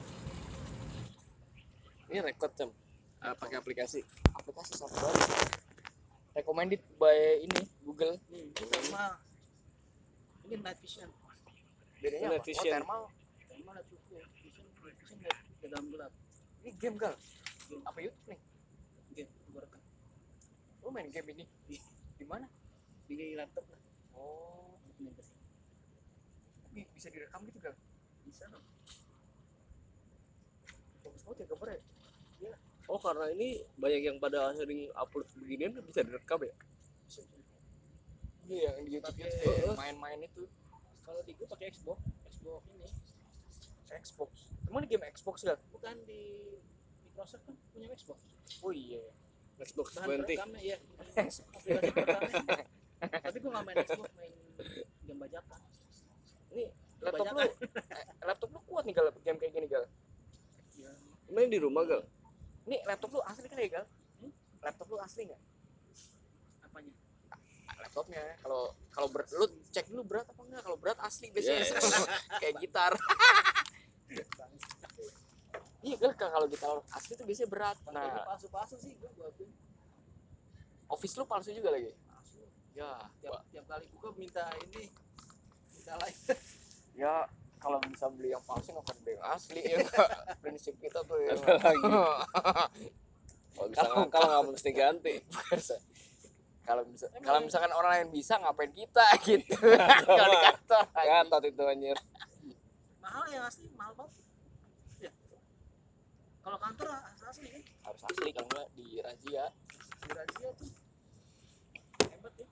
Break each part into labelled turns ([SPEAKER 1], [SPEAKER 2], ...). [SPEAKER 1] ini Iya, record jam Eh, pakai aplikasi aplikasi software recommended by ini Google
[SPEAKER 2] Hmm, ini thermal. Ini night vision.
[SPEAKER 1] bedanya
[SPEAKER 3] Night
[SPEAKER 1] apa
[SPEAKER 3] vision.
[SPEAKER 1] oh, thermal
[SPEAKER 2] Thermal udah cukup. Vision, vision lihat ke dalam gelap.
[SPEAKER 1] ini game gal apa YouTube nih
[SPEAKER 2] Game, gua rekam.
[SPEAKER 1] lu main game ini di mana
[SPEAKER 2] Di laptop lah.
[SPEAKER 1] oh
[SPEAKER 2] dokumentasi.
[SPEAKER 1] tapi bisa direkam gitu gal
[SPEAKER 2] Bisa dong.
[SPEAKER 1] bagus banget ya gambarnya
[SPEAKER 3] Oh karena ini banyak yang pada sering upload beginian bisa direkam ya?
[SPEAKER 2] Bisa juga.
[SPEAKER 1] iya yang di YouTube
[SPEAKER 2] Pakai-
[SPEAKER 1] itu
[SPEAKER 3] Heeh.
[SPEAKER 1] eh, main-main itu
[SPEAKER 2] Kalau di gua pakai Xbox, Xbox ini
[SPEAKER 1] Xbox emang ini game Xbox gal
[SPEAKER 2] bukan di Microsoft kan punya Xbox.
[SPEAKER 1] oh iya
[SPEAKER 3] Xbox
[SPEAKER 2] Bahan
[SPEAKER 3] 20
[SPEAKER 2] perekamnya ya. Aplikasi perekamnya. Tapi gua nggak main Xbox, main game bajakan.
[SPEAKER 1] ini laptop lu
[SPEAKER 2] Kebanyakan.
[SPEAKER 1] eh, laptop lu kuat nih gal game kayak gini gal
[SPEAKER 2] Ya,
[SPEAKER 3] Main di rumah gal?
[SPEAKER 1] ini laptop lu asli kan ya gal
[SPEAKER 2] Hmm?
[SPEAKER 1] laptop lu asli nggak Ah,
[SPEAKER 2] apanya?
[SPEAKER 1] laptopnya kalau kalau ber, lu cek dulu berat apa enggak kalau berat asli biasanya
[SPEAKER 2] Iya,
[SPEAKER 3] Yes.
[SPEAKER 1] kayak gitar iya kan kalau gitar asli tuh biasanya berat
[SPEAKER 2] Nah,
[SPEAKER 1] nah
[SPEAKER 2] palsu-palsu sih gua gua akuin.
[SPEAKER 1] office lu palsu juga lagi
[SPEAKER 2] Palsu.
[SPEAKER 1] ya
[SPEAKER 2] tiap, tiap kali gua minta ini minta like
[SPEAKER 1] ya kalau bisa beli yang palsu ngapain beli yang asli ya prinsip kita tuh ya
[SPEAKER 3] Apalagi. Oh, gitu. Kalau Oh, bisa
[SPEAKER 1] Kalau-
[SPEAKER 3] ngakal nggak mesti ganti.
[SPEAKER 1] kalau bisa
[SPEAKER 2] Emang iya.
[SPEAKER 1] kalau
[SPEAKER 2] yang-
[SPEAKER 1] misalkan orang lain bisa ngapain kita gitu kalau di kantor
[SPEAKER 2] Ya.
[SPEAKER 3] Gatot itu anjir.
[SPEAKER 2] mahal yang asli mahal banget ya kalau kantor asli asli kan
[SPEAKER 1] harus asli kalau enggak di razia
[SPEAKER 2] di razia tuh hebat ya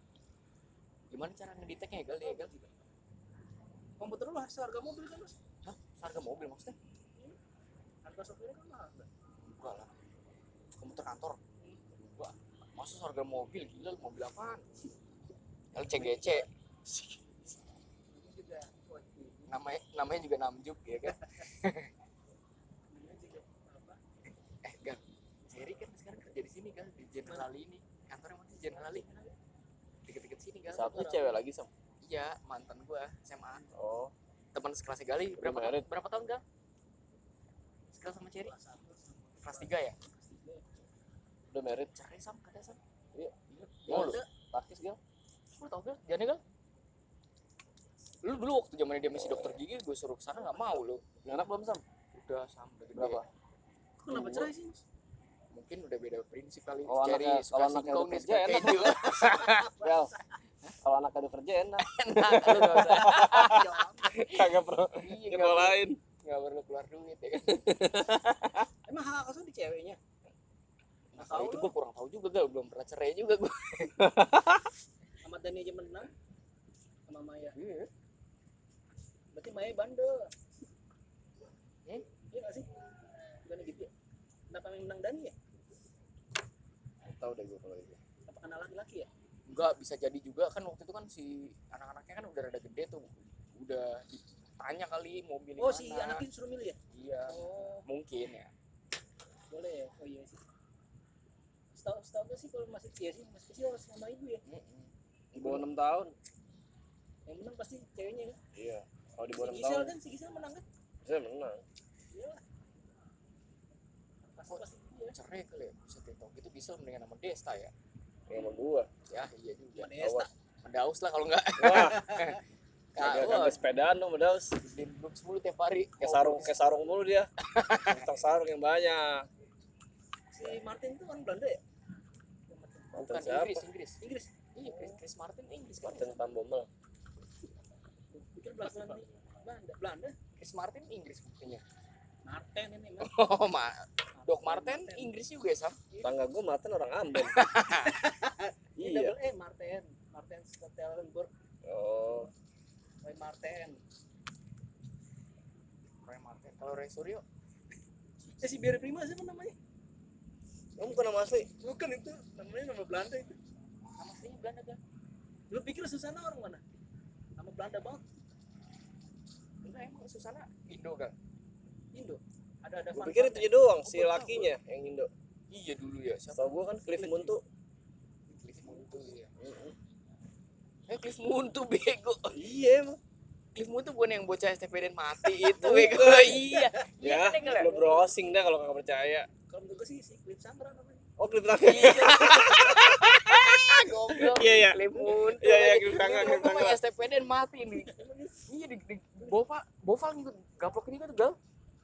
[SPEAKER 1] gimana cara ngedeteknya ya gal ya gal
[SPEAKER 2] komputer lu harus harga mobil kan mas
[SPEAKER 1] Hah? harga mobil maksudnya
[SPEAKER 2] harga sopirnya kan mahal kan
[SPEAKER 1] enggak lah komputer kantor enggak masa harga mobil gila lu mobil apaan LCGC
[SPEAKER 2] ini juga waduh
[SPEAKER 1] namanya namanya juga namjuk ya kan
[SPEAKER 2] ini juga apa
[SPEAKER 1] eh gal Jerry kan sekarang kerja di sini kan di General Ali ini kantornya mana sih General Ali deket-deket sini gal
[SPEAKER 3] Satu cewek lagi sama.
[SPEAKER 1] iya mantan gua SMA
[SPEAKER 3] Oh.
[SPEAKER 1] teman sekelas Gali berapa
[SPEAKER 3] Udah married.
[SPEAKER 1] berapa tahun gal sekelas sama Jerry
[SPEAKER 2] kelas satu sama
[SPEAKER 1] kelas tiga ya
[SPEAKER 2] kelas tiga
[SPEAKER 3] Udah merit.
[SPEAKER 1] cari sama kada sama
[SPEAKER 3] Iya.
[SPEAKER 1] Oh,
[SPEAKER 3] Mau
[SPEAKER 1] lu
[SPEAKER 3] lu? Takis gal?
[SPEAKER 1] lu tau gal jangan ya, gal lu dulu waktu zamannya dia masih dokter gigi gue suruh kesana nggak mau lu
[SPEAKER 3] Ini Anak belum sam?
[SPEAKER 1] udah sampai gede.
[SPEAKER 3] Berapa?
[SPEAKER 2] Kok kenapa
[SPEAKER 1] Dua.
[SPEAKER 2] cerai sih mas
[SPEAKER 1] mungkin udah beda prinsip kali
[SPEAKER 3] Kalau
[SPEAKER 1] Jerry
[SPEAKER 3] anaknya-
[SPEAKER 1] suka
[SPEAKER 3] kalau
[SPEAKER 1] singkong
[SPEAKER 3] anaknya udah
[SPEAKER 1] dia
[SPEAKER 3] kerja,
[SPEAKER 1] suka
[SPEAKER 3] enak.
[SPEAKER 1] keju
[SPEAKER 3] Gal. Kalau anak ada kerja enak.
[SPEAKER 1] enak lu nggak usah
[SPEAKER 2] Ya,
[SPEAKER 3] Kagak perlu.
[SPEAKER 1] iya nggak
[SPEAKER 3] Kalau
[SPEAKER 1] perlu-
[SPEAKER 3] lain.
[SPEAKER 1] nggak perlu keluar duit ya kan
[SPEAKER 2] emang hak aku di ceweknya
[SPEAKER 1] nah,
[SPEAKER 2] Nggak
[SPEAKER 1] kalau
[SPEAKER 2] tahu
[SPEAKER 1] itu
[SPEAKER 2] lu.
[SPEAKER 1] gue kurang tahu juga gal belum pernah cerai juga gue
[SPEAKER 2] sama Dani aja menang sama Maya
[SPEAKER 1] iya
[SPEAKER 2] berarti Maya bandel
[SPEAKER 1] Eh?
[SPEAKER 2] iya nggak sih bukannya gitu ya kenapa yang menang Dani ya
[SPEAKER 3] Tahu deh gue kalau itu.
[SPEAKER 2] apa kenal laki-laki ya
[SPEAKER 1] nggak bisa jadi juga kan waktu itu kan si anak-anaknya kan udah rada gede tuh udah tanya kali mau milih
[SPEAKER 2] oh
[SPEAKER 1] mana
[SPEAKER 2] si anak ini suruh milih ya
[SPEAKER 1] iya
[SPEAKER 2] oh
[SPEAKER 1] mungkin ya
[SPEAKER 2] boleh ya oh iya sih setahu setahu gue sih kalau masih iya sih masih kecil harus sama ibu ya
[SPEAKER 1] Mm-mm.
[SPEAKER 3] Di bawah enam tahun.
[SPEAKER 2] yang menang pasti ceweknya kan
[SPEAKER 3] Iya. Kalau di bawah
[SPEAKER 2] si
[SPEAKER 3] enam
[SPEAKER 2] Gisel
[SPEAKER 3] tahun,
[SPEAKER 2] kan si Gisel menang kan
[SPEAKER 3] saya menang.
[SPEAKER 2] iya lah pasti
[SPEAKER 1] Oh.
[SPEAKER 2] pasti dia
[SPEAKER 1] cerai kali ya bisa gitu gitu bisa mendingan sama Desta ya
[SPEAKER 3] Yang sama gua.
[SPEAKER 1] ya iya juga
[SPEAKER 2] Sama Desta.
[SPEAKER 3] Awas.
[SPEAKER 1] Mendaus lah kalau nggak
[SPEAKER 3] Wah,
[SPEAKER 1] Kagak
[SPEAKER 3] kagak kagak sepedaan dong Daus.
[SPEAKER 1] di grup 10 tiap hari
[SPEAKER 3] Kayak sarung, kayak sarung mulu dia. Tentang sarung yang banyak.
[SPEAKER 2] si Martin itu orang Belanda ya
[SPEAKER 3] Mantan
[SPEAKER 1] bukan
[SPEAKER 3] siapa?
[SPEAKER 1] Inggris Inggris
[SPEAKER 2] Inggris
[SPEAKER 1] iya Chris, Chris Martin Inggris kan
[SPEAKER 3] Mantan Tambomel.
[SPEAKER 2] bikin belasan di Belanda Belanda
[SPEAKER 1] Chris Martin Inggris buktinya
[SPEAKER 2] Martin ini Mas.
[SPEAKER 1] oh ma Doc Martin Inggris juga ya Sam
[SPEAKER 3] Tangga gua Martin orang Ambon.
[SPEAKER 2] Ini
[SPEAKER 3] iya.
[SPEAKER 2] double E Martin, Martin Stelenburg,
[SPEAKER 3] Oh,
[SPEAKER 2] Roy Martin.
[SPEAKER 1] Roy Martin kalau Roy Suryo
[SPEAKER 2] Eh si Barry Prima siapa namanya?
[SPEAKER 3] kamu bukan nama asli?
[SPEAKER 2] Bukan itu, namanya nama Belanda itu.
[SPEAKER 1] sama aslinya Belanda kan
[SPEAKER 2] Lu pikir Susana orang mana? Nama Belanda banget,
[SPEAKER 1] enggak emang Susana Indo kan
[SPEAKER 2] Indo. Ada ada
[SPEAKER 3] Gua
[SPEAKER 2] fun
[SPEAKER 3] pikir itu
[SPEAKER 2] fact
[SPEAKER 3] aja doang
[SPEAKER 1] Oh,
[SPEAKER 3] si
[SPEAKER 1] gua tahu,
[SPEAKER 3] lakinya yang Indo.
[SPEAKER 1] iya dulu ya siapa
[SPEAKER 3] Setahu gua kan Cliff Muntu.
[SPEAKER 1] Cliff Muntu ya eh Cliff Muntu bego
[SPEAKER 3] Iya emang.
[SPEAKER 1] Cliff Muntu bukan yang bocah STP dan mati itu bego iya iya
[SPEAKER 3] Ya,
[SPEAKER 1] kan ya, Gal, ya?
[SPEAKER 3] lu browsing dah kalau nggak percaya.
[SPEAKER 2] ya. Kalau Om Teguh sih si Clip Sandra namanya.
[SPEAKER 3] oh klip tangan
[SPEAKER 1] Iya, goblok.
[SPEAKER 3] Iya, iya.
[SPEAKER 1] Klip mundur.
[SPEAKER 3] Iya, iya,
[SPEAKER 1] lagi.
[SPEAKER 3] klip tangga,
[SPEAKER 1] Klip
[SPEAKER 3] klip
[SPEAKER 1] mundur
[SPEAKER 3] tangga.
[SPEAKER 1] main STPD dan mati nih. Iya, di, di Bova, Bova gitu gaplok ini kan tuh gal.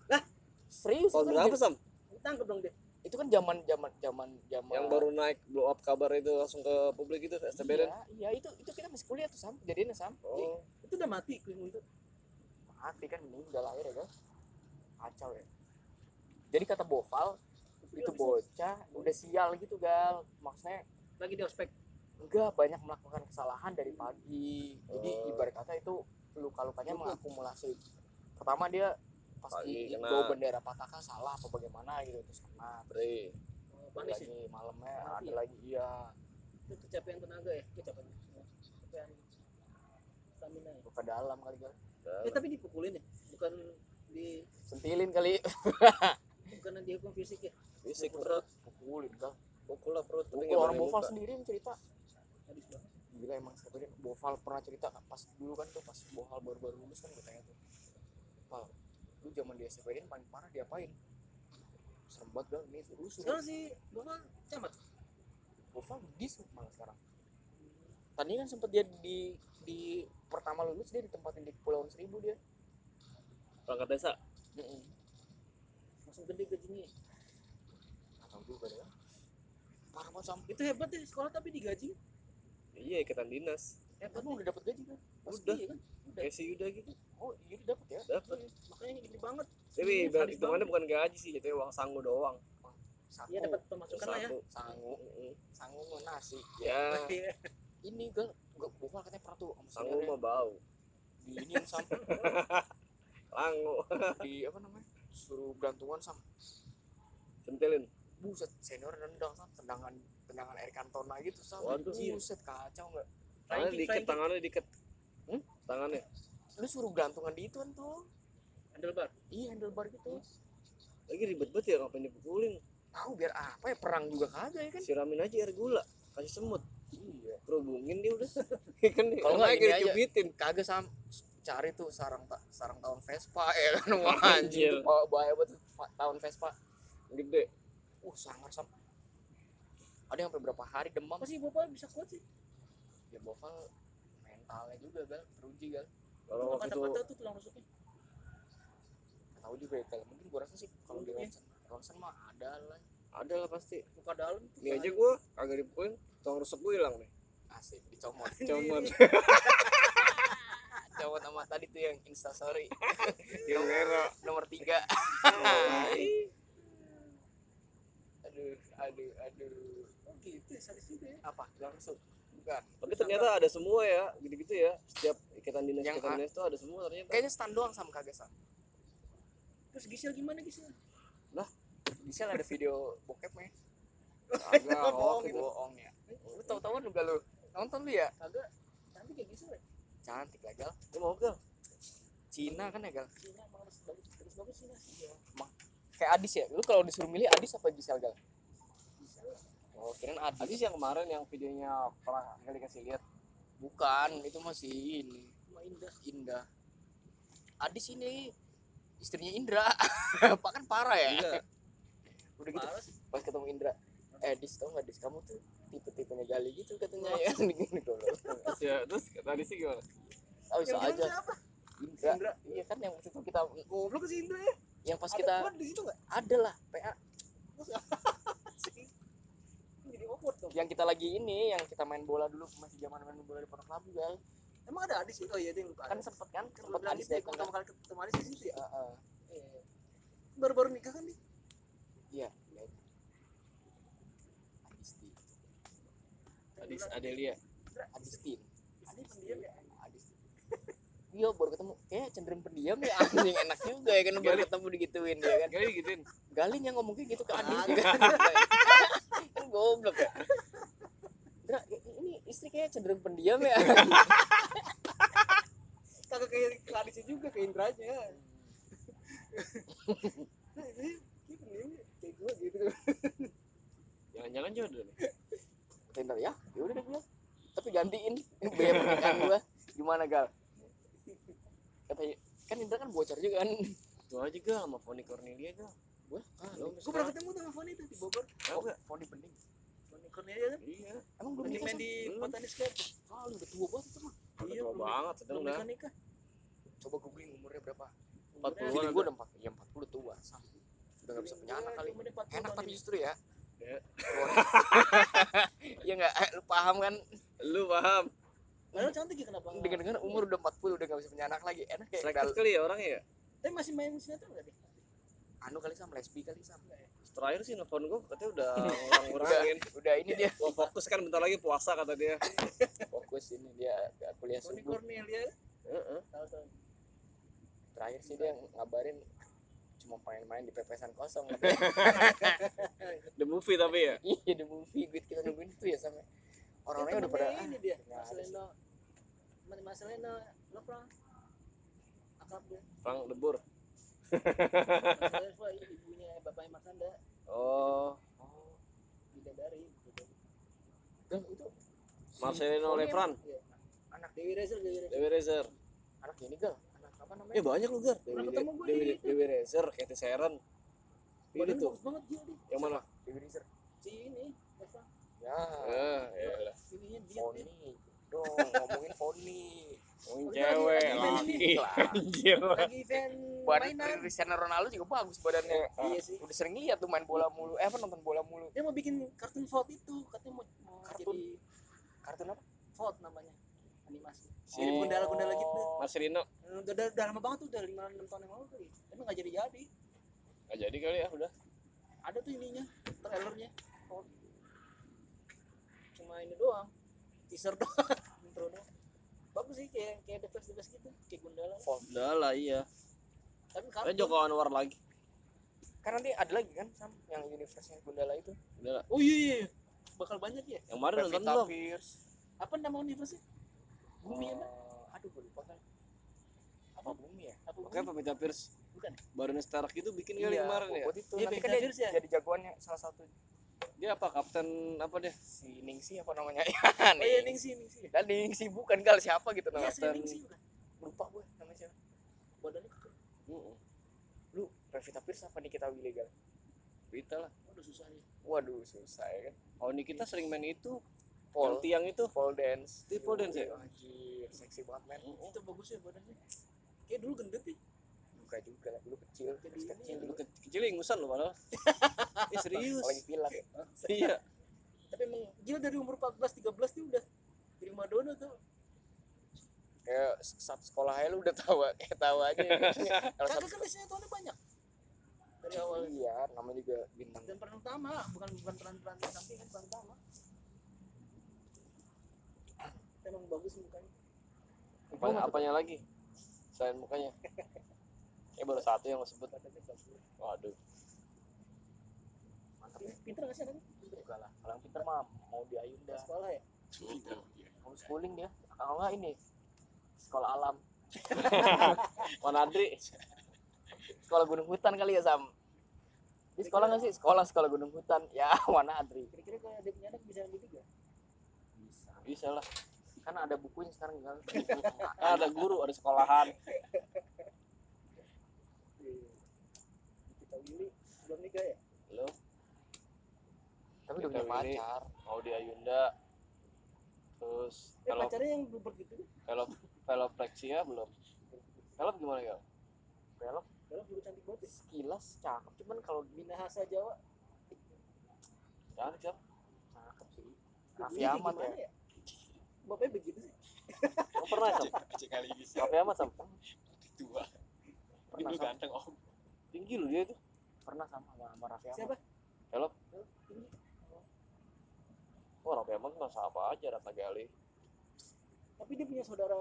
[SPEAKER 3] Lah?
[SPEAKER 1] serius
[SPEAKER 3] tahun
[SPEAKER 1] itu kan
[SPEAKER 3] berapa
[SPEAKER 1] jam-
[SPEAKER 3] sam
[SPEAKER 2] Ditangkap dong dia.
[SPEAKER 1] itu kan zaman zaman zaman zaman
[SPEAKER 3] yang baru naik blow up kabar itu langsung ke publik itu
[SPEAKER 1] Iya,
[SPEAKER 3] STBN
[SPEAKER 1] iya itu itu kita masih kuliah tuh sam kejadiannya sam. Jadi,
[SPEAKER 3] oh
[SPEAKER 2] Itu udah mati Clip untuk
[SPEAKER 1] mati kan meninggal akhirnya kan. Kacau ya. Jadi kata Boval
[SPEAKER 3] Iya,
[SPEAKER 1] itu bocah udah sial gitu gal maksudnya
[SPEAKER 2] lagi di ospek.
[SPEAKER 1] enggak banyak melakukan kesalahan dari pagi jadi
[SPEAKER 3] Oh.
[SPEAKER 1] ibarat kata itu luka lukanya mengakumulasi pertama dia
[SPEAKER 3] Pagi
[SPEAKER 1] pasti
[SPEAKER 3] kena.
[SPEAKER 1] bawa bendera pataka salah apa bagaimana gitu terus kena
[SPEAKER 3] berarti
[SPEAKER 2] Oh,
[SPEAKER 1] Ada
[SPEAKER 2] Panis ya.
[SPEAKER 1] lagi malamnya
[SPEAKER 2] Mati.
[SPEAKER 1] ada lagi iya
[SPEAKER 2] Itu kecapean tenaga ya, kecapean. Kecapean stamina ya.
[SPEAKER 1] luka dalam kali kali
[SPEAKER 2] Eh tapi dipukulin ya, bukan di
[SPEAKER 1] sentilin kali
[SPEAKER 2] bukan di hukum fisik ya.
[SPEAKER 3] fisik perut
[SPEAKER 1] pukulin kan
[SPEAKER 3] pukul lah perut tapi
[SPEAKER 1] pukul
[SPEAKER 3] nggak
[SPEAKER 1] orang
[SPEAKER 3] berani
[SPEAKER 1] boval
[SPEAKER 3] muka.
[SPEAKER 1] sendiri yang cerita
[SPEAKER 2] Habis banget.
[SPEAKER 1] gila emang satu dia boval pernah cerita pas dulu kan tuh pas boval baru baru lulus kan gue tanya tuh Val lu zaman di SPDN paling parah diapain serem banget kan ini lu suruh
[SPEAKER 2] Sekarang sih Bapak camat.
[SPEAKER 1] boval di malah sekarang tadinya kan sempet dia di di pertama lulus dia ditempatin di Kepulauan Seribu dia
[SPEAKER 3] perangkat desa
[SPEAKER 2] Langsung gede gajinya.
[SPEAKER 1] atau juga ya parah banget sam
[SPEAKER 2] Itu hebat ya sekolah tapi digaji.
[SPEAKER 3] iya ikatan dinas
[SPEAKER 1] hebat lu udah dapet gaji kan
[SPEAKER 3] Udah.
[SPEAKER 2] Iya kan?
[SPEAKER 3] kayak si Yuda gitu
[SPEAKER 1] oh iya udah dapet ya
[SPEAKER 3] dapat
[SPEAKER 2] Makanya gede banget.
[SPEAKER 3] tapi
[SPEAKER 2] Iya,
[SPEAKER 3] ibarat
[SPEAKER 2] sadis
[SPEAKER 3] hitungannya
[SPEAKER 2] banget.
[SPEAKER 3] bukan gaji sih itu uang sangu doang
[SPEAKER 1] satu
[SPEAKER 2] Iya dapat pemasukan lah ya.
[SPEAKER 3] satu
[SPEAKER 1] sangu
[SPEAKER 3] Mm-mm.
[SPEAKER 1] sangu mau nasi
[SPEAKER 3] ya
[SPEAKER 2] Iya.
[SPEAKER 1] ini gal gue boval katanya pernah tuh sama
[SPEAKER 3] sangu
[SPEAKER 1] saudaranya
[SPEAKER 3] mah bau
[SPEAKER 1] di ini sam
[SPEAKER 3] langu
[SPEAKER 1] di apa namanya suruh berantungan sam
[SPEAKER 3] centilin
[SPEAKER 1] buset senior nendang sam tendangan tendangan air kantona gitu sam
[SPEAKER 3] Waduh.
[SPEAKER 1] buset kacau nggak
[SPEAKER 3] tangannya
[SPEAKER 2] Flying kick,
[SPEAKER 3] diikat
[SPEAKER 2] flying kick.
[SPEAKER 3] tangannya diikat
[SPEAKER 1] Hmm?
[SPEAKER 3] tangannya
[SPEAKER 1] lu suruh berantungan di itu tuh
[SPEAKER 2] Handlebar.
[SPEAKER 1] iya handlebar gitu
[SPEAKER 3] lagi ribet banget ya ngapain dipukulin
[SPEAKER 1] tahu biar apa ya perang juga kagak ya kan
[SPEAKER 3] siramin aja air gula kasih semut
[SPEAKER 1] iya
[SPEAKER 3] kerubungin dia udah kan
[SPEAKER 1] Kalau nggak
[SPEAKER 3] naik
[SPEAKER 1] ini aja.
[SPEAKER 3] dicubitin
[SPEAKER 1] kagak sam cari tuh sarang ta sarang tahun Vespa ya kan wah anjing
[SPEAKER 3] Anjir.
[SPEAKER 1] tuh bawa bahaya buat tahun Vespa
[SPEAKER 3] gede
[SPEAKER 1] uh sangar sam ada yang sampai berapa hari demam
[SPEAKER 2] Apa sih Bapak bisa kuat sih?
[SPEAKER 1] ya bokal mentalnya juga gal teruji gal
[SPEAKER 3] kalau
[SPEAKER 2] Kalau
[SPEAKER 3] waktu itu
[SPEAKER 2] kata-kata tuh tulang rusuknya.
[SPEAKER 1] Nggak tahu juga ya kalau mungkin gua rasa sih kalau di
[SPEAKER 2] Mungkin.
[SPEAKER 1] ronsen ronsen mah ada lah
[SPEAKER 3] ada lah pasti
[SPEAKER 2] Buka dalam tuh.
[SPEAKER 3] ini aja gua kagak dipukulin tong rusuk gua hilang nih
[SPEAKER 1] asik dicomot
[SPEAKER 3] cuman
[SPEAKER 1] dicomot sama tadi tuh yang instastory
[SPEAKER 3] yang merah
[SPEAKER 1] nomor tiga
[SPEAKER 2] Iya.
[SPEAKER 3] Ih,
[SPEAKER 1] aduh aduh aduh
[SPEAKER 2] Oh gitu, ya, sadis juga ya.
[SPEAKER 1] apa langsung bukan
[SPEAKER 3] tapi ternyata ada semua ya gitu-gitu ya setiap ikatan dinas
[SPEAKER 1] Yang
[SPEAKER 3] ikatan
[SPEAKER 1] a-
[SPEAKER 3] dinas itu ada semua ternyata
[SPEAKER 1] kayaknya stand doang sama kagak sam
[SPEAKER 2] Terus Gisel gimana Gisel?
[SPEAKER 1] bisa ada video bokepnya
[SPEAKER 3] kagak
[SPEAKER 1] bohong gitu.
[SPEAKER 3] hoax itu
[SPEAKER 1] bohong ya lu tau tauan juga lu nonton lu ya
[SPEAKER 2] Kagak. Eh, Nanti kayak Gisel ya.
[SPEAKER 1] cantik lah gal
[SPEAKER 3] Lu mau gak
[SPEAKER 1] Cina kan ya gal
[SPEAKER 2] Cina emang harus bagus, bagus bagus Cina sih. Iya.
[SPEAKER 1] kayak Adis ya lu kalau disuruh milih Adis apa Gisel gal
[SPEAKER 2] Gisel.
[SPEAKER 1] oh kirain Adis
[SPEAKER 3] Aziz yang kemarin yang videonya pernah kali kasih lihat
[SPEAKER 1] bukan itu masih ini
[SPEAKER 2] Cuma indah.
[SPEAKER 1] Indah Adis ini istrinya Indra pak kan parah ya
[SPEAKER 3] Iya.
[SPEAKER 1] udah gitu
[SPEAKER 2] Parah sih.
[SPEAKER 1] pas ketemu Indra eh Dis tau gak Dis kamu tuh tipe-tipenya Gali gitu katanya ya gini goblok
[SPEAKER 3] terus ya terus tadi sih gimana
[SPEAKER 1] oh bisa
[SPEAKER 2] Yang jalan
[SPEAKER 1] aja
[SPEAKER 2] siapa?
[SPEAKER 1] Indra
[SPEAKER 2] Indra.
[SPEAKER 1] iya kan yang waktu itu kita
[SPEAKER 2] Goblok sih Indra ya.
[SPEAKER 1] yang pas
[SPEAKER 2] Ada
[SPEAKER 1] kita
[SPEAKER 2] kuat di situ enggak?
[SPEAKER 1] ada lah PA
[SPEAKER 2] Jadi awkward dong.
[SPEAKER 1] yang kita lagi ini yang kita main bola dulu masih zaman main bola di Pondok Labu gal
[SPEAKER 2] Emang ada Adis ya? Oh iya dia lupa.
[SPEAKER 1] kan sempet kan
[SPEAKER 2] Kan lu
[SPEAKER 1] sempet
[SPEAKER 2] bilang
[SPEAKER 1] Adis
[SPEAKER 2] gitu ya,
[SPEAKER 1] datang
[SPEAKER 2] pertama
[SPEAKER 1] kan
[SPEAKER 2] kali ketemu Adis di situ ya.
[SPEAKER 1] Heeh.
[SPEAKER 2] Iya. Baru-baru nikah kan nih?
[SPEAKER 1] iya Adisti
[SPEAKER 3] Adis Adelia
[SPEAKER 1] Adistin
[SPEAKER 2] Ini pendiam ya.
[SPEAKER 1] Adis Iya baru ketemu kayak cenderung pendiam ya anjing enak juga ya kan baru
[SPEAKER 3] Gali.
[SPEAKER 1] ketemu digituin ya kan
[SPEAKER 3] kali gituin
[SPEAKER 1] Galin yang ngomong kayak gitu ke Adis
[SPEAKER 2] Kagak.
[SPEAKER 1] kan Kan goblok ya Indra, i- ini istri kayak cenderung pendiam ya
[SPEAKER 2] Kagak kayak ke Adisnya juga ke Indra aja. Nah, ini ini pendiam ya, kayak gue gitu.
[SPEAKER 3] jangan-jangan jodoh nih
[SPEAKER 1] Tinder ya ya udah deh gue tapi gantiin biaya pernikahan gue gimana Gal kata kan Indra kan bocor juga kan
[SPEAKER 3] itu aja gak sama Foni Cornelia gak
[SPEAKER 1] gue kali
[SPEAKER 3] Gue pernah ketemu sama Foni tuh di Bogor.
[SPEAKER 1] oh,
[SPEAKER 3] Tahu nggak?
[SPEAKER 1] Foni bening
[SPEAKER 3] Foni Cornelia kan?
[SPEAKER 1] iya emang belum
[SPEAKER 3] Bening
[SPEAKER 1] nikah
[SPEAKER 3] main di
[SPEAKER 1] Belum.
[SPEAKER 3] Botanis Club.
[SPEAKER 1] kali udah tua banget itu mah
[SPEAKER 3] Iya, tua belum- banget. Belum udah. nikah nikah.
[SPEAKER 1] coba googling umurnya berapa
[SPEAKER 2] Umurnya-
[SPEAKER 3] 40-an.
[SPEAKER 1] feeling gue
[SPEAKER 3] ada.
[SPEAKER 1] udah empat ya empat puluh tua Sam. udah nggak bisa punya anak kali
[SPEAKER 2] Umurnya 40-an
[SPEAKER 1] enak tapi
[SPEAKER 2] ini.
[SPEAKER 1] justru ya
[SPEAKER 3] Ya.
[SPEAKER 1] ya nggak eh, lu paham kan
[SPEAKER 3] Lu paham?
[SPEAKER 2] Padahal cantik ya kenapa? nggak?
[SPEAKER 1] dengan dengan umur udah 40 udah nggak bisa punya anak lagi enak kayak
[SPEAKER 3] Selektif
[SPEAKER 1] dal-
[SPEAKER 3] kali ya orangnya ya.
[SPEAKER 2] Tapi masih main sinetron nggak deh?
[SPEAKER 1] anu kali sama lesbi kali sama
[SPEAKER 3] Terakhir sih nelfon gue katanya udah ngurang-ngurangin.
[SPEAKER 1] udah ini dia
[SPEAKER 3] Gua fokus kan bentar lagi puasa kata dia.
[SPEAKER 1] fokus ini dia dia kuliah
[SPEAKER 2] Foni
[SPEAKER 1] subuh
[SPEAKER 2] Cornelia
[SPEAKER 3] Heeh.
[SPEAKER 2] tahu tahu.
[SPEAKER 1] terakhir sih dia ngabarin cuma pengen main di pepesan kosong
[SPEAKER 3] The movie tapi ya.
[SPEAKER 1] iya di movie gue kita nungguin itu ya sama orang-orangnya udah pada
[SPEAKER 2] Temennya ini dia.
[SPEAKER 1] nggak
[SPEAKER 2] Mas
[SPEAKER 1] ada
[SPEAKER 2] Leno. Temen Mas Leno lo pernah akrab dia.
[SPEAKER 3] Bang debur.
[SPEAKER 2] Mas Leno ibunya bapaknya Makanda
[SPEAKER 1] ah.
[SPEAKER 3] Oh,
[SPEAKER 1] oh
[SPEAKER 2] bidadari. gitu.
[SPEAKER 1] dan itu si
[SPEAKER 3] Marcelino
[SPEAKER 1] Foni
[SPEAKER 3] Lefran,
[SPEAKER 2] Iya.
[SPEAKER 1] anak
[SPEAKER 2] Dewi Rezer, Dewi Rezer.
[SPEAKER 3] Dewi Rezer.
[SPEAKER 1] anak ini gal anak apa namanya
[SPEAKER 3] Eh banyak lu Gar. Dewi,
[SPEAKER 2] Pernah ketemu gua di
[SPEAKER 3] Dewi, Dewi,
[SPEAKER 2] itu.
[SPEAKER 3] Dewi Rezer, Katy Sharon. Ini
[SPEAKER 2] Badannya
[SPEAKER 3] tuh
[SPEAKER 2] bagus banget dia dia.
[SPEAKER 3] yang mana?
[SPEAKER 1] Dewi Rezer
[SPEAKER 2] Si ini, Lefran.
[SPEAKER 1] ya
[SPEAKER 2] Iya.
[SPEAKER 3] Eh, ya udah.
[SPEAKER 2] Ininya dia.
[SPEAKER 1] Foni dong ngomongin Foni
[SPEAKER 3] Ngomongin
[SPEAKER 2] Udah,
[SPEAKER 3] cewek,
[SPEAKER 2] lagi- lagi
[SPEAKER 3] laki, anjir.
[SPEAKER 2] Lagi event
[SPEAKER 1] badan
[SPEAKER 2] mainan.
[SPEAKER 1] Cristiano Ronaldo juga bagus badannya
[SPEAKER 2] Iya sih.
[SPEAKER 1] udah sering lihat tuh main bola mulu eh apa nonton bola mulu
[SPEAKER 2] Dia mau bikin kartun Vault itu, katanya mau, mau
[SPEAKER 1] Kartun?
[SPEAKER 2] jadi
[SPEAKER 1] kartun apa
[SPEAKER 2] Vault namanya animasi.
[SPEAKER 3] Si-
[SPEAKER 1] Oh.
[SPEAKER 2] Jadi gundala-gundala gitu.
[SPEAKER 3] Marcelino
[SPEAKER 2] Eh, Udah, udah, udah lama banget tuh, udah 5 6 tahun yang lalu kali. Tapi enggak jadi-jadi.
[SPEAKER 3] nggak jadi kali ya udah.
[SPEAKER 2] Ada tuh ininya, trailernya. Oh. Cuma ini doang. Teaser doang, intro doang. Bagus sih kayak kayak The Flash The Flash gitu, kayak gundala.
[SPEAKER 3] Udah lah iya.
[SPEAKER 2] Tapi
[SPEAKER 3] Eh
[SPEAKER 2] kartun.
[SPEAKER 3] Joko Anwar lagi.
[SPEAKER 1] kan nanti ada lagi kan Sam yang universe nya Gundala itu
[SPEAKER 3] Udah lah.
[SPEAKER 2] Oh iya, iya, iya. bakal banyak ya.
[SPEAKER 3] Yang kemarin nonton
[SPEAKER 1] Pevita
[SPEAKER 3] belum?
[SPEAKER 1] Pierce
[SPEAKER 2] Apa nama universe-nya? Bumi
[SPEAKER 3] Oh.
[SPEAKER 2] apa?
[SPEAKER 1] Eh, aduh gue lupa kan apa bumi ya
[SPEAKER 2] Apa
[SPEAKER 3] Oke,
[SPEAKER 2] bumi?
[SPEAKER 3] Pevita Pierce.
[SPEAKER 2] Bukan.
[SPEAKER 3] Baroness Stark itu bikin kali kemarin ya.
[SPEAKER 1] buat itu
[SPEAKER 2] Iya,
[SPEAKER 1] nanti
[SPEAKER 2] Pevita
[SPEAKER 1] kan dia
[SPEAKER 2] Pierce ya?
[SPEAKER 1] jadi jagoannya salah satu
[SPEAKER 3] Dia apa kapten apa dia?
[SPEAKER 1] si Ningsi apa namanya ya
[SPEAKER 2] Oh iya,
[SPEAKER 1] Ning.
[SPEAKER 2] Ningsi, Ningsi.
[SPEAKER 1] Dan Ningsi bukan kali siapa gitu
[SPEAKER 2] Iya,
[SPEAKER 1] namanya
[SPEAKER 2] sih, Ningsi bukan.
[SPEAKER 3] Iya.
[SPEAKER 1] lupa gue namanya siapa
[SPEAKER 2] Badannya kekeh.
[SPEAKER 3] Heeh.
[SPEAKER 1] lu Pevita Pierce apa Nikita Willy gal
[SPEAKER 3] Pevita lah.
[SPEAKER 2] Waduh susah nih.
[SPEAKER 1] waduh susah ya kan
[SPEAKER 3] Oh, ini kita sering main itu.
[SPEAKER 1] Paul
[SPEAKER 3] Yang tiang itu.
[SPEAKER 1] pole dance
[SPEAKER 3] Itu pole dance ya?
[SPEAKER 1] Yoi, anjir seksi banget men
[SPEAKER 2] Itu bagus ya badannya. Kayak dulu gendut ya. nih.
[SPEAKER 1] buka juga lah dulu kecil terus
[SPEAKER 2] Jadi ini
[SPEAKER 1] kecil
[SPEAKER 3] Lu ke- kecil ingusan lo padahal. Eh serius.
[SPEAKER 1] lagi pilak
[SPEAKER 3] Iya.
[SPEAKER 2] Tapi emang gila dari umur 14 13 dia udah jadi Madonna tuh.
[SPEAKER 1] kayak saat sekolah aja lu udah tahu kayak tahu aja kalau
[SPEAKER 2] Kagak
[SPEAKER 1] saat
[SPEAKER 2] kan biasanya tahunnya banyak. Dari awal
[SPEAKER 1] iya namanya juga bintang
[SPEAKER 2] dan peran utama, bukan bukan peran-peran sampingan, peran utama. Emang bagus mukanya.
[SPEAKER 3] Apanya, apanya lagi? Selain mukanya. Eh baru satu yang lo sebut.
[SPEAKER 2] Badannya bagus.
[SPEAKER 3] Waduh.
[SPEAKER 1] mantap ya
[SPEAKER 2] Pin- Pinter nggak sih anaknya?
[SPEAKER 1] enggak lah kalau yang pinter mah mau di Ayunda
[SPEAKER 2] Pas sekolah ya?
[SPEAKER 1] homeschooling dia kalau nggak ini sekolah alam
[SPEAKER 3] Wanadri.
[SPEAKER 1] sekolah gunung hutan kali ya Sam di sekolah nggak sih sekolah sekolah gunung hutan ya mana Adri
[SPEAKER 2] Kira-kira kalau dia punya anak bisa lebih tiga?
[SPEAKER 1] bisa
[SPEAKER 3] Bisa lah.
[SPEAKER 1] kan ada bukunya sekarang gal
[SPEAKER 3] Ah, ada guru, ada sekolahan.
[SPEAKER 2] Kita Willy belum nikah ya?
[SPEAKER 3] Lo
[SPEAKER 1] tapi udah punya
[SPEAKER 3] Kita ini-
[SPEAKER 1] pacar
[SPEAKER 3] mau di Ayunda. Terus
[SPEAKER 2] Eh
[SPEAKER 3] kalau
[SPEAKER 2] pacarnya yang bluebird gitu kan?
[SPEAKER 3] kalau veloplexia belum. Velop gimana ya?
[SPEAKER 1] belok
[SPEAKER 2] Dalam dulu cantik banget ya?
[SPEAKER 1] kilas cakep cuman kalau bina
[SPEAKER 2] Minahasa Jawa
[SPEAKER 3] Jangan jam.
[SPEAKER 1] cakep sih
[SPEAKER 2] Dulunya
[SPEAKER 1] Raffi
[SPEAKER 2] kayak
[SPEAKER 1] Ahmad ya Iya,
[SPEAKER 2] gimana Bapaknya begitu sih.
[SPEAKER 3] Lo pernah sam?
[SPEAKER 4] kali ini
[SPEAKER 3] Tapi amat sam.
[SPEAKER 4] tua
[SPEAKER 1] pernah sama,
[SPEAKER 4] ganteng om
[SPEAKER 3] Tinggi lo dia tuh.
[SPEAKER 1] pernah sama sama, sama Raffi Ahmad
[SPEAKER 2] Siapa?
[SPEAKER 3] Velop.
[SPEAKER 2] Ini.
[SPEAKER 3] Wah, Rapi Ahmad masa apa aja Rata Gali.
[SPEAKER 2] Tapi dia punya saudara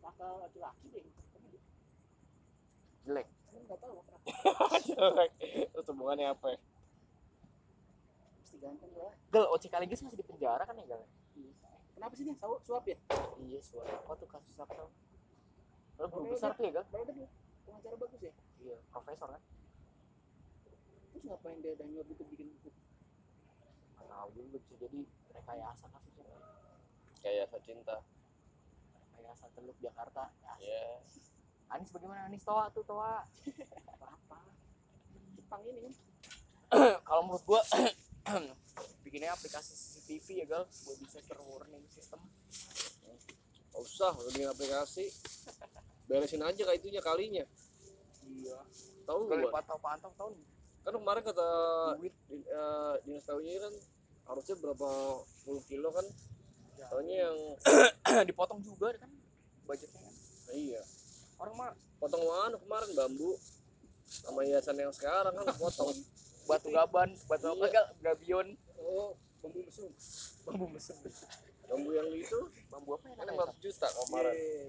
[SPEAKER 2] kakak laki-laki deh. Tapi dia-
[SPEAKER 1] jelek
[SPEAKER 2] Cuman nggak tahu kenapa.
[SPEAKER 3] Terus hubungannya apa ya?
[SPEAKER 2] Pasti ganteng lah.
[SPEAKER 1] Gal, OCK Legis masih di penjara kan ya Gal?
[SPEAKER 2] Kenapa sih dia? Sawo- Suap ya?
[SPEAKER 1] Iya, suara apa tuh kasus apa? Lo
[SPEAKER 2] guru
[SPEAKER 1] guru besar
[SPEAKER 2] besar
[SPEAKER 1] tuh ya Gal?
[SPEAKER 2] Padahal dia pengacara bagus ya.
[SPEAKER 1] Iya, profesor kan?
[SPEAKER 2] Terus ngapain dia dan nyoba itu bikin buku?
[SPEAKER 1] Nah, dulu bisa jadi rekayasa kan, kasusnya Gal.
[SPEAKER 3] Kayak cinta.
[SPEAKER 1] Rekayasa Teluk Jakarta
[SPEAKER 3] Ya.
[SPEAKER 1] Anis bagaimana? Anis Toa tuh Toa
[SPEAKER 2] Apa-apa. ini kan
[SPEAKER 1] kalau menurut gua bikinnya aplikasi CCTV ya gal buat disaster warning system
[SPEAKER 3] Gak usah, udah bikin aplikasi. Beresin aja kayak itunya kalinya.
[SPEAKER 1] iya
[SPEAKER 3] Tahu
[SPEAKER 1] kalau
[SPEAKER 3] gua.
[SPEAKER 1] dipantau pantau tahun
[SPEAKER 3] Kan kemarin kata
[SPEAKER 1] duit
[SPEAKER 3] din- eh, dinas tahunya kan harusnya berapa puluh kilo kan tahunya yang
[SPEAKER 1] dipotong juga kan budgetnya kan
[SPEAKER 3] Nah, iya
[SPEAKER 1] orang mah
[SPEAKER 3] potong mana kemarin bambu sama hiasan yang sekarang kan potong
[SPEAKER 1] batu gaban batu apa
[SPEAKER 3] Iya.
[SPEAKER 1] gal gabion
[SPEAKER 3] oh bambu mesum
[SPEAKER 1] bambu mesem
[SPEAKER 3] bambu yang itu
[SPEAKER 1] bambu apa ya
[SPEAKER 3] kan
[SPEAKER 1] namanya
[SPEAKER 3] 500 juta kemarin
[SPEAKER 2] Iya.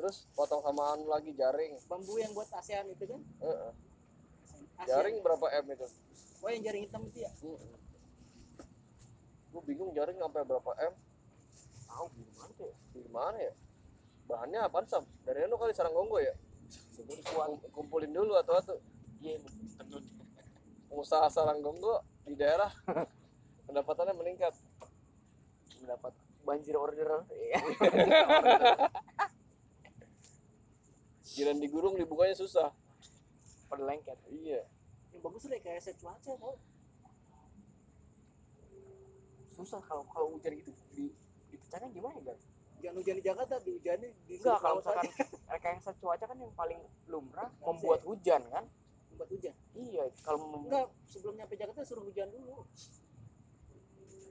[SPEAKER 3] terus potong samaan lagi jaring
[SPEAKER 2] bambu yang buat ASEAN itu kan
[SPEAKER 3] Heeh.
[SPEAKER 2] ASEAN.
[SPEAKER 3] jaring berapa m itu
[SPEAKER 2] oh yang jaring hitam itu ya
[SPEAKER 3] gue bingung jaring sampai berapa m
[SPEAKER 1] tahu gimana tuh
[SPEAKER 3] gimana ya bahannya apaan sam dari lu kali sarang gonggo ya Kum- kumpulin dulu atau atau
[SPEAKER 1] iya tentu
[SPEAKER 3] pengusaha sarang gonggo di daerah pendapatannya meningkat
[SPEAKER 1] mendapat banjir orderan Iya.
[SPEAKER 3] jiran digurung dibukanya susah
[SPEAKER 1] pada lengket
[SPEAKER 3] iya
[SPEAKER 2] yang bagus tuh kayak set cuaca kok
[SPEAKER 1] susah kalau kalau hujan gitu di dipecahkan gimana ya gal
[SPEAKER 2] jangan hujan di Jakarta di hujannya di
[SPEAKER 1] enggak
[SPEAKER 2] sudut
[SPEAKER 1] kalau
[SPEAKER 2] laut aja.
[SPEAKER 1] misalkan rekayasa cuaca kan yang paling lumrah membuat hujan kan
[SPEAKER 2] tempat hujan
[SPEAKER 1] iya kalau mem-
[SPEAKER 2] enggak sebelum nyampe Jakarta suruh hujan dulu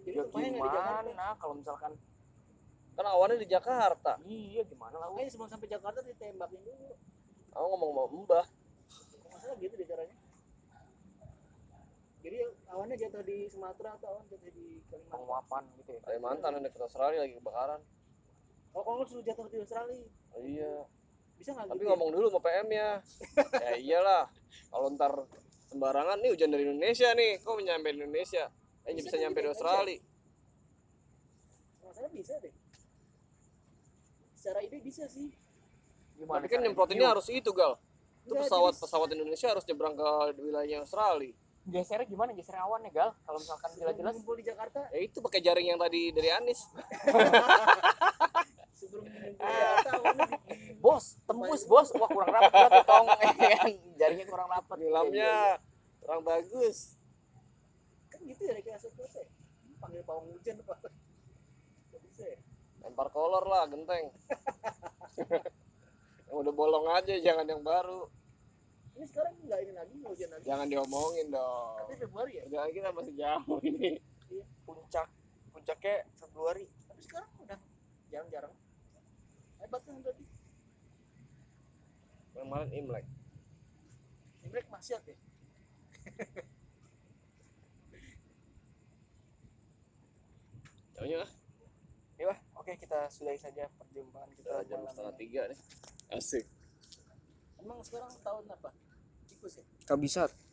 [SPEAKER 2] jadi
[SPEAKER 1] ya
[SPEAKER 2] lumayan nggak di Jakarta
[SPEAKER 1] gimana kalau misalkan
[SPEAKER 3] kan awalnya di Jakarta
[SPEAKER 1] iya gimana lah
[SPEAKER 2] makanya sebelum sampai Jakarta ditembakin dulu
[SPEAKER 3] aku ngomong sama mbah
[SPEAKER 2] Kalau nggak salah gitu deh caranya jadi awannya jatuh di Sumatera atau awan jatuh di Kalimantan
[SPEAKER 1] penguapan gitu ya
[SPEAKER 3] Kalimantan ada ke Australia lagi kebakaran
[SPEAKER 2] kalau kalau suruh jatuh di Australia
[SPEAKER 3] iya
[SPEAKER 2] bisa nggak
[SPEAKER 3] tapi
[SPEAKER 2] gitu
[SPEAKER 3] ngomong dulu sama PM ya ya iyalah kalau ntar sembarangan nih hujan dari Indonesia nih kok nyampe di Indonesia eh
[SPEAKER 2] Bisa
[SPEAKER 3] bisa
[SPEAKER 2] kan
[SPEAKER 3] nyampe di
[SPEAKER 2] juga,
[SPEAKER 3] Australia
[SPEAKER 2] ya? Kalau saya bisa deh secara ide bisa sih
[SPEAKER 1] gimana
[SPEAKER 3] tapi kan
[SPEAKER 1] caranya? Iya,
[SPEAKER 3] nyemprotinnya harus itu gal itu
[SPEAKER 2] Nggak,
[SPEAKER 3] pesawat
[SPEAKER 2] jadi-
[SPEAKER 3] pesawat Indonesia harus nyebrang ke wilayahnya Australia
[SPEAKER 1] gesernya gimana geser awannya gal kalau misalkan
[SPEAKER 2] sebelum
[SPEAKER 1] jelas-jelas
[SPEAKER 2] ngumpul di Jakarta
[SPEAKER 3] ya itu pakai jaring yang tadi dari Anies
[SPEAKER 2] sebelum ngumpul di Jakarta awannya di- di-
[SPEAKER 1] bos tembus bos wah kurang rapat berarti tong Iya kan? jaringnya kurang
[SPEAKER 3] Iya,
[SPEAKER 1] Iya, rapat
[SPEAKER 3] nyelamnya kurang bagus
[SPEAKER 2] kan gitu ya kayak asal kuasa ya Ini panggil pawang hujan apa nggak bisa ya
[SPEAKER 3] lempar kolor lah genteng yang udah bolong aja jangan yang baru
[SPEAKER 2] ini sekarang nggak ini lagi nggak hujan lagi
[SPEAKER 3] jangan diomongin dong
[SPEAKER 2] tapi Februari ya
[SPEAKER 3] kerjaan kita masih jauh ini
[SPEAKER 1] puncak puncaknya Februari
[SPEAKER 2] tapi sekarang udah jarang-jarang hebat kan berarti
[SPEAKER 3] kemarin Imlek
[SPEAKER 2] Imlek masih ya
[SPEAKER 3] jauhnya
[SPEAKER 1] ya Bah. oke kita sudahi saja perjumpaan kita
[SPEAKER 3] Udah eh, jam
[SPEAKER 1] malam
[SPEAKER 3] setengah
[SPEAKER 1] ini.
[SPEAKER 3] tiga nih. Asik.
[SPEAKER 2] emang sekarang tahun apa tikus ya
[SPEAKER 1] kabisat